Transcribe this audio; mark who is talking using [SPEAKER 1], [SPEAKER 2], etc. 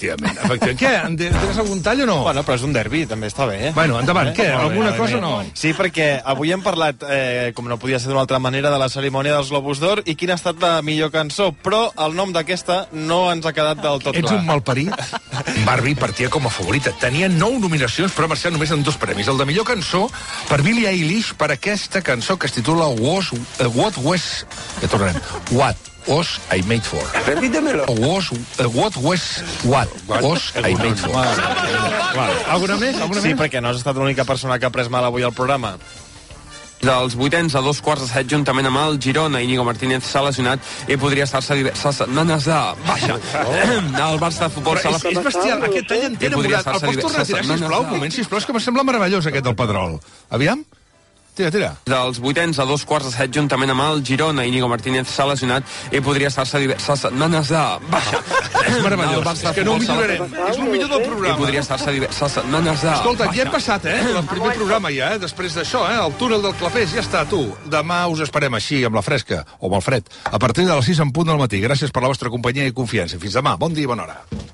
[SPEAKER 1] Efectivament, efectivament. Què, en te- tens algun tall o no?
[SPEAKER 2] Bueno, però és un derbi, també està bé, eh?
[SPEAKER 1] Bueno, endavant. Què,
[SPEAKER 2] Molt bé,
[SPEAKER 1] alguna
[SPEAKER 2] molt
[SPEAKER 1] cosa
[SPEAKER 2] bé.
[SPEAKER 1] o no?
[SPEAKER 2] Sí, perquè avui hem parlat, eh, com no podia ser d'una altra manera, de la cerimònia dels Globus d'Or i quina ha estat la millor cançó, però el nom d'aquesta no ens ha quedat del tot
[SPEAKER 1] Ets
[SPEAKER 2] clar.
[SPEAKER 1] un malparit?
[SPEAKER 3] Barbie partia com a favorita. Tenia nou nominacions, però va ser només en dos premis. El de millor cançó per Billie Eilish per aquesta cançó que es titula Was, eh, What Was... Ja tornarem. What was I made for? Repítemelo. Was, eh, what was... What was I made for?
[SPEAKER 1] Alguna més? Alguna
[SPEAKER 2] Sí,
[SPEAKER 1] més?
[SPEAKER 2] perquè no has estat l'única persona que ha pres mal avui al programa.
[SPEAKER 4] Dels vuitens a dos quarts de set, juntament amb el Girona, Íñigo Martínez s'ha lesionat i podria estar-se diverses setmanes de baixa. El Barça de futbol s'ha
[SPEAKER 3] Oh. Però és, és bestial, aquest tall entén
[SPEAKER 4] I podria
[SPEAKER 3] emulat. El
[SPEAKER 4] estar-se
[SPEAKER 3] pots tornar a tirar, sisplau,
[SPEAKER 4] diverses
[SPEAKER 3] un
[SPEAKER 4] setmanes.
[SPEAKER 3] moment, sisplau, és que em sembla meravellós aquest del Pedrol. Aviam? Tira, tira.
[SPEAKER 4] dels vuitens a dos quarts de set juntament amb el Girona. Íñigo Martínez s'ha lesionat i podria estar-se diverses setmanes de baixa.
[SPEAKER 3] És
[SPEAKER 4] El
[SPEAKER 3] meravellós.
[SPEAKER 4] Barça
[SPEAKER 3] És que no ho
[SPEAKER 4] futbol s'ha-
[SPEAKER 3] millorarem. És el millor del
[SPEAKER 4] I
[SPEAKER 3] programa.
[SPEAKER 4] podria estar-se diverses setmanes de
[SPEAKER 3] Escolta, ja hem
[SPEAKER 4] baixa.
[SPEAKER 3] passat, eh? El primer programa ja, eh? Després d'això, eh? El túnel del Clapés, ja està, tu. Demà us esperem així, amb la fresca, o amb el fred, a partir de les 6 en punt del matí. Gràcies per la vostra companyia i confiança. Fins demà. Bon dia i bona hora.